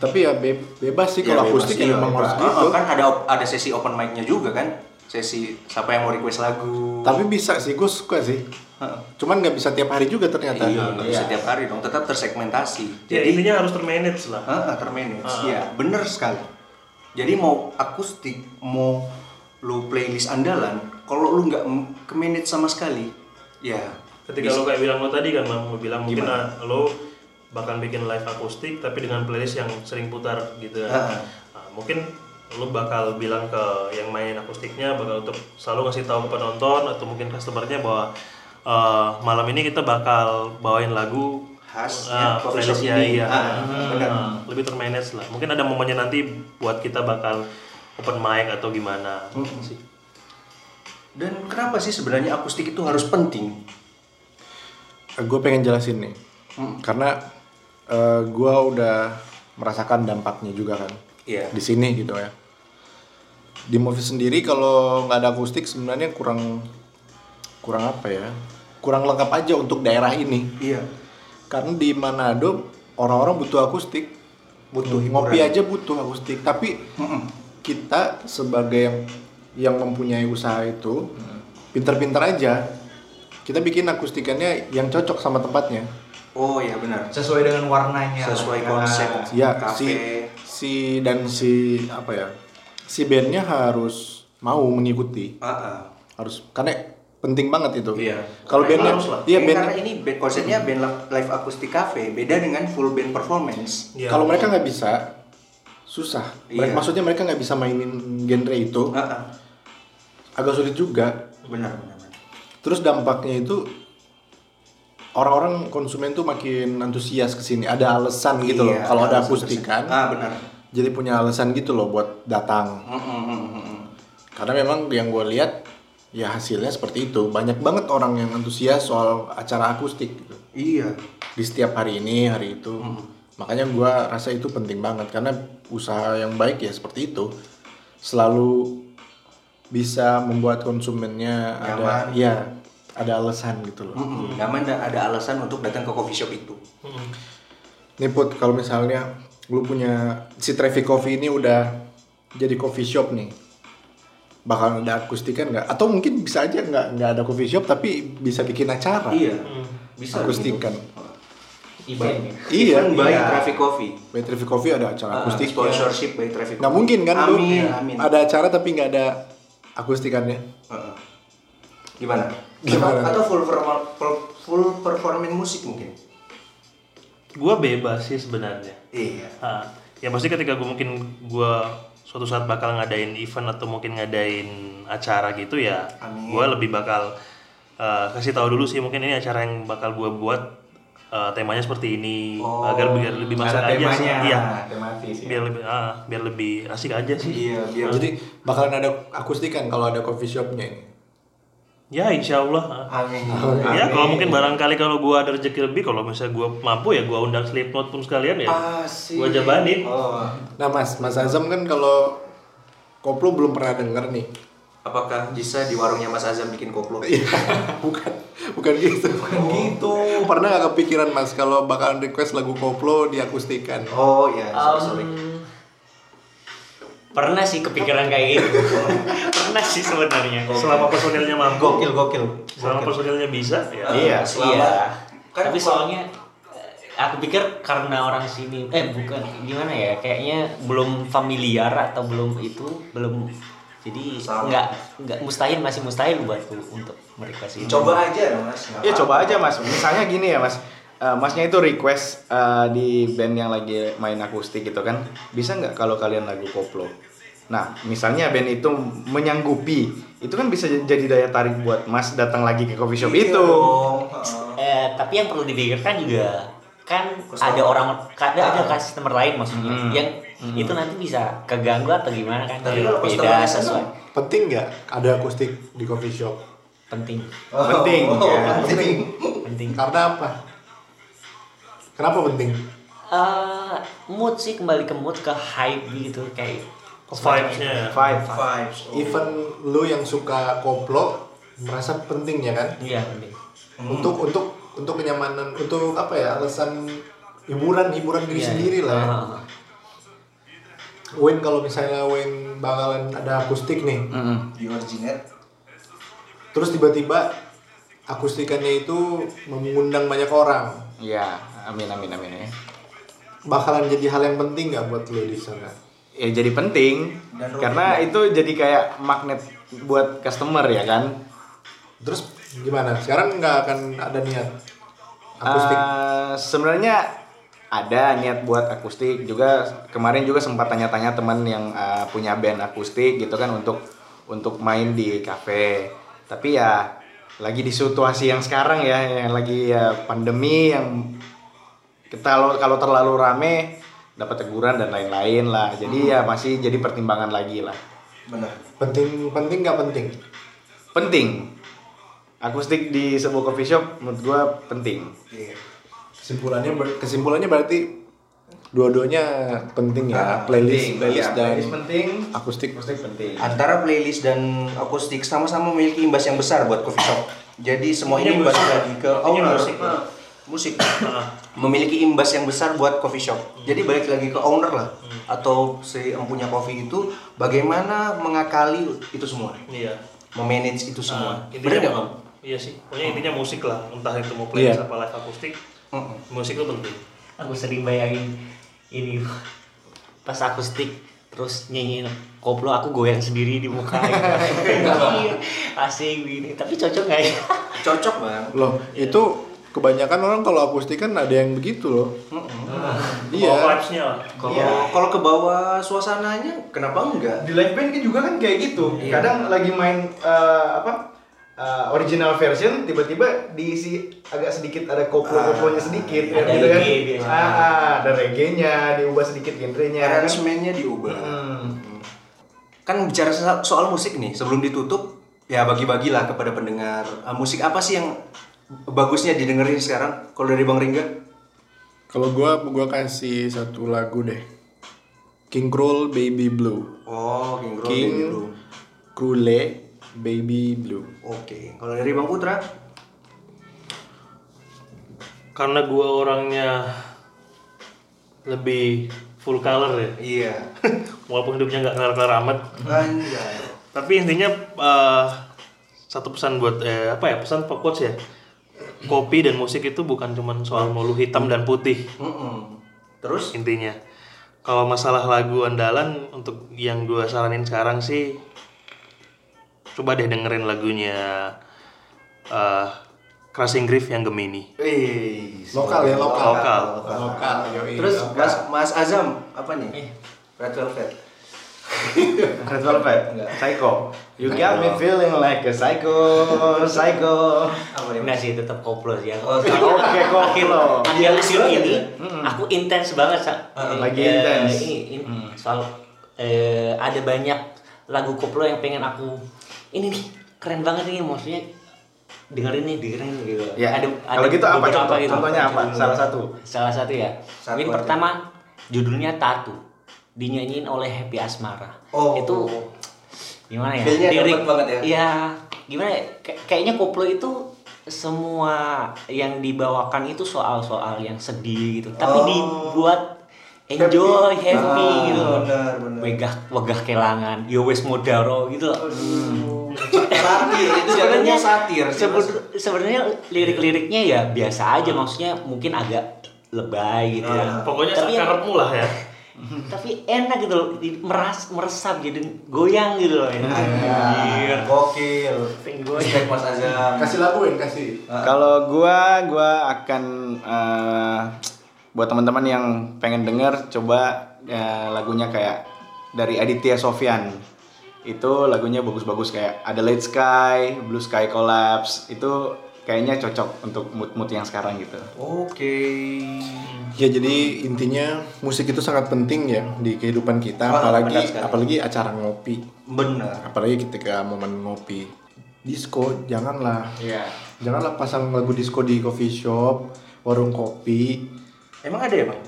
C: tapi ya be- bebas sih kalau akustik ya memang harus gitu.
B: kan ada op- ada sesi open mic-nya juga kan. Sesi siapa yang mau request lagu.
C: Tapi bisa sih, gue suka sih.
B: Ah, ah.
C: Cuman nggak bisa tiap hari juga ternyata.
B: Iya, nggak bisa tiap hari dong, tetap tersegmentasi.
E: Ya,
B: Jadi
E: intinya harus termanage lah
B: Ah, ah, termanage. Iya, bener sekali. Jadi mau akustik, mau lu playlist andalan, kalau lu nggak m- ke manage sama sekali, ya
E: ketika lo kayak bilang lo tadi kan Mam, lo bilang mungkin ah, lo bakal bikin live akustik tapi dengan playlist yang sering putar gitu
B: Ah.
E: kan. Ah, mungkin lo bakal bilang ke yang main akustiknya bakal untuk selalu ngasih tahu ke penonton atau mungkin customernya bahwa eh, malam ini kita bakal bawain lagu
B: khas
E: Ah,
B: coffee shop
E: playlistnya
B: ini.
E: iya.
B: Ah, bener.
E: Ah, lebih termanage lah. Mungkin ada momennya nanti buat kita bakal open mic atau gimana sih.
B: Dan kenapa sih sebenarnya akustik itu harus penting?
C: gue pengen jelasin nih karena eh, gua gue udah merasakan dampaknya juga kan
B: Iya.
C: di sini gitu ya di movie sendiri kalau nggak ada akustik sebenarnya kurang kurang apa ya kurang lengkap aja untuk daerah ini
B: Iya.
C: karena di Manado orang-orang butuh akustik butuh
B: Hmm,
C: ngopi aja butuh akustik tapi kita sebagai yang yang mempunyai usaha itu
B: Hmm.
C: pinter-pinter aja kita bikin akustikannya yang cocok sama tempatnya
B: Oh ya benar.
G: sesuai dengan warnanya Nah,
B: Sesuai konsep.
C: ya
B: Kafe.
C: si si dan si apa ya si bandnya harus mau mengikuti
B: Ah, ah.
C: harus karena penting banget itu
B: Iya.
C: kalau bandnya iya
B: Iya, karena
C: band
B: ini band konsepnya band la- live akustik cafe beda dengan full band performance.
E: Iya.
C: kalau mereka nggak bisa susah Mereka-
B: Iya.
C: maksudnya mereka nggak bisa mainin genre itu
B: Ah, ah.
C: agak sulit juga.
B: Benar, benar, benar.
C: Terus dampaknya itu orang-orang konsumen tuh makin antusias ke sini. Ada alasan gitu loh.
B: Iya,
C: Kalau ada kan?
B: alasan
C: akustikan,
B: tersebut. Ah, benar.
C: jadi punya alasan gitu loh buat datang.
B: Mm, mm, mm, mm, mm.
C: Karena memang yang gue lihat ya hasilnya seperti itu. Banyak banget orang yang antusias soal acara akustik gitu.
B: Iya.
C: Di setiap hari ini, hari itu.
B: Hmm.
C: Makanya gue rasa itu penting banget karena usaha yang baik ya seperti itu. Selalu bisa membuat konsumennya ada ya ada alasan gitu loh.
B: Mm, mm. Nyaman dan ada alasan untuk datang ke coffee shop itu.
C: Nih Put, kalau misalnya lu punya si Traffic Coffee ini udah jadi coffee shop nih. Bakal ada akustikan nggak? Atau mungkin bisa aja nggak nggak ada coffee shop tapi bisa bikin acara.
B: Iya. Bisa
C: Akustikan.
F: Event ya.
B: Iya,
C: Iya.
B: by
C: iya.
B: Traffic Coffee.
C: By Traffic Coffee ada acara
B: Ah,
C: akustik.
B: sponsorship by Traffic.
C: Nggak mungkin kan lu
B: Iya, Amin, amin.
C: ya? ada acara tapi nggak ada akustikannya.
B: Ah, ah. Uh, Gimana?
C: Gimana?
B: atau full perform- full- full performing musik mungkin
E: Gue bebas sih sebenarnya.
B: iya
E: Ah, ya pasti ketika gue mungkin gue suatu saat bakal ngadain event atau mungkin ngadain acara gitu ya
B: Amin.
E: gue lebih bakal eh, kasih tahu dulu sih mungkin ini acara yang bakal gue buat eh, temanya seperti ini
B: Oh,
E: agar biar lebih masuk
B: ada
E: aja sih.
B: temanya.
E: iya
G: Tematis ya.
E: biar lebih ah, biar lebih asik aja sih
B: iya biar
C: Jadi bakalan ada akustikan kalau ada coffee shopnya ini.
E: ya insya Allah ah.
B: amin
E: ya kalau mungkin barangkali kalau gue ada rezeki lebih kalau misalnya gue mampu ya gue undang Slipknot pun sekalian ya
B: Asik.
E: gue
B: Ah,
E: jabanin
B: oh
C: Nah Mas, Mas Azam kan kalau koplo belum pernah denger nih.
B: apakah bisa di warungnya Mas Azam bikin koplo
C: Iya. bukan, bukan gitu. Bukan gitu. Pernah nggak kepikiran Mas kalau bakalan request lagu koplo diakustikan?
B: oh iya sorry sorry
F: Um, pernah sih kepikiran kayak gitu. pernah sih sebenarnya.
E: selama personilnya mampu
B: gokil gokil
E: selama personilnya bisa ya
G: Iya,
B: Nah, selama-
F: iya.
B: Uh, kan
F: Tapi
B: kalau-
F: soalnya eh, aku pikir karena orang sini eh bukan gimana ya kayaknya belum familiar atau belum itu belum jadi
B: Sama.
F: nggak nggak mustahil masih mustahil buatku untuk mereka sih
B: coba aja
C: Iya,
B: Mas nggak
G: Ya
B: apa-apa.
G: coba aja mas. Misalnya gini ya mas. Eh, masnya itu request eh, di band yang lagi main akustik gitu kan. Bisa nggak kalau kalian lagu koplo? Nah, misalnya band itu menyanggupi, itu kan bisa j- jadi daya tarik buat mas datang lagi ke coffee shop
B: Iya
G: itu.
B: dong, heeh.
F: Eh, tapi yang perlu dipikirkan juga kan
B: Customer.
F: ada orang ada ada
B: Ah.
F: customer lain maksudnya
G: Hmm.
F: yang itu nanti bisa keganggu atau gimana kan
B: Tapi
F: Kalau
B: kalau customer
F: beda
B: bisa
F: sesuai
C: Penting nggak ada akustik di coffee shop?
F: penting
B: Oh,
G: Penting,
B: oh,
C: Iya.
G: ya.
B: penting.
F: penting
C: Karena apa? Kenapa penting?
F: Eh, mood sih kembali ke mood ke hype gitu kayak
E: vibes-nya
G: Five.
B: Vibes. oh.
C: Even lu yang suka koplo merasa penting ya kan?
F: iya penting
C: Untuk untuk untuk kenyamanan, untuk apa ya? Alasan hiburan hiburan diri
F: Iya,
C: sendiri
F: iya.
C: lah. ya.
F: Ah,
C: Win kalau misalnya Win bakalan ada akustik nih,
G: Mm-mm.
B: Di originate.
C: terus tiba-tiba akustikannya itu mengundang banyak orang,
G: Iya, amin amin amin ya.
C: bakalan jadi hal yang penting nggak buat lo di sana?
G: Ya jadi penting
B: Dan rugi.
G: karena itu jadi kayak magnet buat customer ya kan.
C: Terus gimana? Sekarang nggak akan ada niat akustik?
G: Eh, sebenarnya ada niat buat akustik juga kemarin juga sempat tanya-tanya teman yang eh, punya band akustik gitu kan untuk untuk main di kafe tapi ya lagi di situasi yang sekarang ya yang lagi ya, pandemi yang kita kalau kalau terlalu rame dapat teguran dan lain-lain lah jadi ya masih jadi pertimbangan lagi lah
B: Benar.
C: penting penting nggak penting?
G: penting akustik di sebuah coffee shop menurut gua penting
B: Iya.
C: Kesimpulannya ber- kesimpulannya berarti dua-duanya penting ya playlist
B: penting.
C: playlist dan
B: Iya,
G: Nah, Playlist penting
C: akustik.
G: akustik penting
B: Antara playlist dan akustik sama-sama memiliki imbas yang besar buat coffee shop. Jadi semua ini
E: Intinya
B: imbas
E: musik.
B: lagi ke
E: Intinya
B: owner.
E: musik.
B: Nah, musik Uh-huh. memiliki imbas yang besar buat coffee shop. Jadi balik lagi ke owner lah atau si empunya coffee itu bagaimana mengakali itu semua,
E: iya
B: memanage itu semua.
E: Ah,
B: Benar nggak, Bang? Oh.
E: Iya sih, pokoknya intinya musik lah, entah itu mau playlist
C: Iya.
E: apa live akustik,
B: Mm-mm.
E: musik itu penting.
F: aku sering bayangin ini pas akustik terus nyanyiin koplo aku goyang sendiri di muka gitu. asik gini tapi cocok nggak ya
B: Cocok, Bang.
C: Loh, itu kebanyakan orang kalau akustik kan ada yang begitu loh.
E: Bawa
C: Iya.
E: vibes-nya lah.
B: Kalau kalau ke bawah suasananya kenapa enggak?
G: di live band kan juga kan kayak gitu
C: Iya.
G: kadang lagi main eh, apa eh, original version tiba-tiba diisi agak sedikit ada koplo-koplonya
C: Ah,
G: sedikit
F: Ada
G: gitu kan
F: reggae biasanya.
G: Ah, ah, ada reggae-nya diubah sedikit genrenya kan
B: arrangementnya diubah.
G: Hmm.
B: Kan bicara so- soal musik nih, sebelum ditutup ya bagi-bagilah kepada pendengar eh, musik apa sih yang bagusnya didengerin sekarang kalau dari Bang Ringga?
C: Kalau gua gua kasih satu lagu deh. King Krul Baby Blue.
B: Oh, King Growl, Baby
C: King
B: Blue.
C: Krule Baby Blue.
B: Oke, kalau dari Bang Putra?
E: Karena gua orangnya lebih full color ya,
B: Iya.
E: walaupun hidupnya nggak kelar-kelar amat.
B: Anjay.
E: Tapi intinya eh, satu pesan buat eh, apa ya pesan pokok ya. Kopi dan musik itu bukan cuman soal mulu hitam dan putih.
B: Mm-mm. Terus
E: intinya kalau masalah lagu andalan untuk yang gue saranin sekarang sih coba deh dengerin lagunya eh, Crushing Grief yang Gemini.
B: Wih,
C: Lokal ya, lokal.
E: Lokal.
C: Lokal, yoi.
B: Terus
C: lokal. Eh.
B: Mas Mas Azam apa nih? Red Velvet.
G: Red Velvet, Psycho. You got me feeling like a psycho, psycho.
B: Apa nih?
F: Enggak sih, tetap koplo sih.
B: Oh,
F: Aku.
B: tetap
G: Oke,
F: Akhir
G: koplo.
F: akhir musim
B: Iya,
F: ini,
G: Mm-mm.
F: aku intens banget Sa.
G: lagi
F: Eh,
G: intens.
F: ini- ini
B: Mm.
F: Soal eh, ada banyak lagu koplo yang pengen aku ini nih keren banget ini maksudnya dengerin nih dengerin gitu.
G: Ya, kalau gitu apa
F: beberapa
G: contoh? Contohnya apa? Salah satu.
F: Salah satu ya.
B: Satu
F: ini
B: aja.
F: pertama judulnya Tatu dinyanyiin oleh Happy Asmara.
B: Oh.
F: Itu gimana ya?
B: Feelnya dapet banget ya?
F: Iya, gimana ya? Kay- kayaknya koplo itu semua yang dibawakan itu soal-soal yang sedih gitu, tapi
B: Oh.
F: dibuat enjoy, happy,
B: Ah,
F: gitu.
B: benar, benar.
F: Wegah, wegah kelangan, yo wes modaro gitu loh.
B: Satir, itu sebenarnya satir.
F: sebel- sebenarnya lirik-liriknya ya biasa aja, maksudnya mungkin agak lebay gitu
B: Ah.
F: ya.
E: Pokoknya
F: Tapi yang-
E: sakarepmu lah ya.
F: tapi enak gitu loh di- meras meresap jadi goyang gitu loh
B: Iya.
F: ya.
B: Anjir, gokil. Respect Mas Azam.
C: Kasih laguin, kasih.
G: Kalau gua gua akan eh, buat teman-teman yang pengen denger coba eh, lagunya kayak dari Aditya Sofyan. Itu lagunya bagus-bagus kayak Adelaide Sky, Blue Sky Collapse. Itu kayaknya cocok untuk mood-mood yang sekarang gitu.
B: Oke.
C: Ya jadi intinya musik itu sangat penting ya di kehidupan kita,
B: Oh,
C: apalagi
B: benar sekali.
C: apalagi acara ngopi,
B: Benar.
C: apalagi ketika momen ngopi. Disco janganlah,
G: Iya.
C: janganlah pasang lagu disco di coffee shop, warung kopi.
B: Emang ada ya, Bang?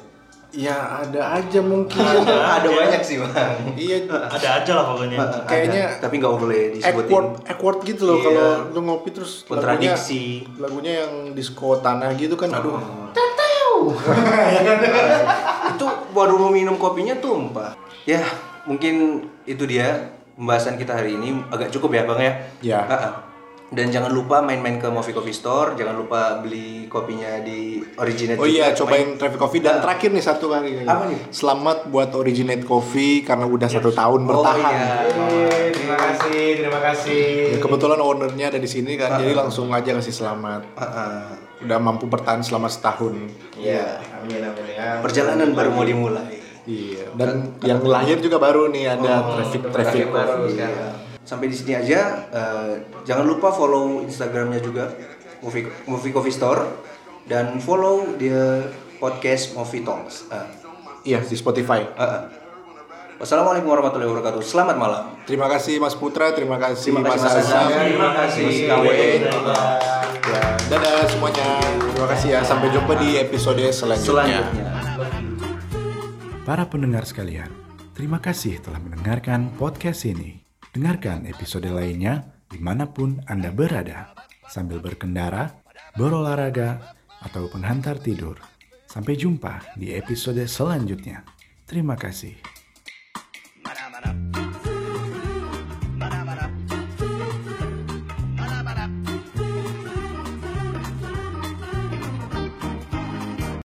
C: Ya ada aja mungkin.
B: ada banyak sih, Bang.
C: iya,
E: Ada aja lah pokoknya.
C: Kayaknya-
B: Ada, tapi nggak boleh disebutin.
C: awkward, awkward gitu loh
B: Iya.
C: kalau lu ngopi terus lagunya
B: Kontradiksi. Oh.
C: lagunya yang disco tanah gitu kan, aduh. Iya kan?
B: itu baru mau minum kopinya tumpah. Ya, mungkin itu dia pembahasan kita hari ini agak cukup ya, Bang ya.
C: Ya.
B: Ha-ha. Dan jangan lupa main-main ke Movi Coffee Store, jangan lupa beli kopinya di Originate.
C: Oh
B: juga. Nah.
C: iya, cobain Traffic Coffee dan terakhir nih satu kali.
B: Apa nih?
C: Selamat buat Originate Coffee karena udah satu tahun
B: Oh,
C: bertahan.
B: iya.
G: terima kasih, terima kasih.
C: Ya, kebetulan ownernya ada di sini
B: Iya.
C: kan, jadi langsung aja kasih selamat.
B: Ha-ha.
C: Udah mampu bertahan selama setahun.
B: Iya.
G: Amin amin ya.
B: Perjalanan baru mau dimulai. Kan
C: Iya. Dan yang lahir juga baru nih ada Traffic Traffic Coffee.
B: Oh, sekarang. Sampai di sini aja. eh, jangan lupa follow Instagramnya juga, Movie Movie Coffee Store, dan follow dia podcast Movie Talks. Eh,
C: Iya di Spotify.
B: eh, eh. Wassalamualaikum warahmatullahi wabarakatuh. Selamat malam.
C: Terima kasih Mas Putra, terima kasih,
B: Terima kasih
C: Mas
B: Mas Azam.
C: Azam.
B: Terima kasih Mas KW.
C: Ya, dadah semuanya. Terima kasih ya. Sampai jumpa di episode selanjutnya.
B: Selanjutnya.
A: Para pendengar sekalian, terima kasih telah mendengarkan podcast ini. Dengarkan episode lainnya dimanapun Anda berada, sambil berkendara, berolahraga, atau penghantar tidur. Sampai jumpa di episode selanjutnya. Terima kasih.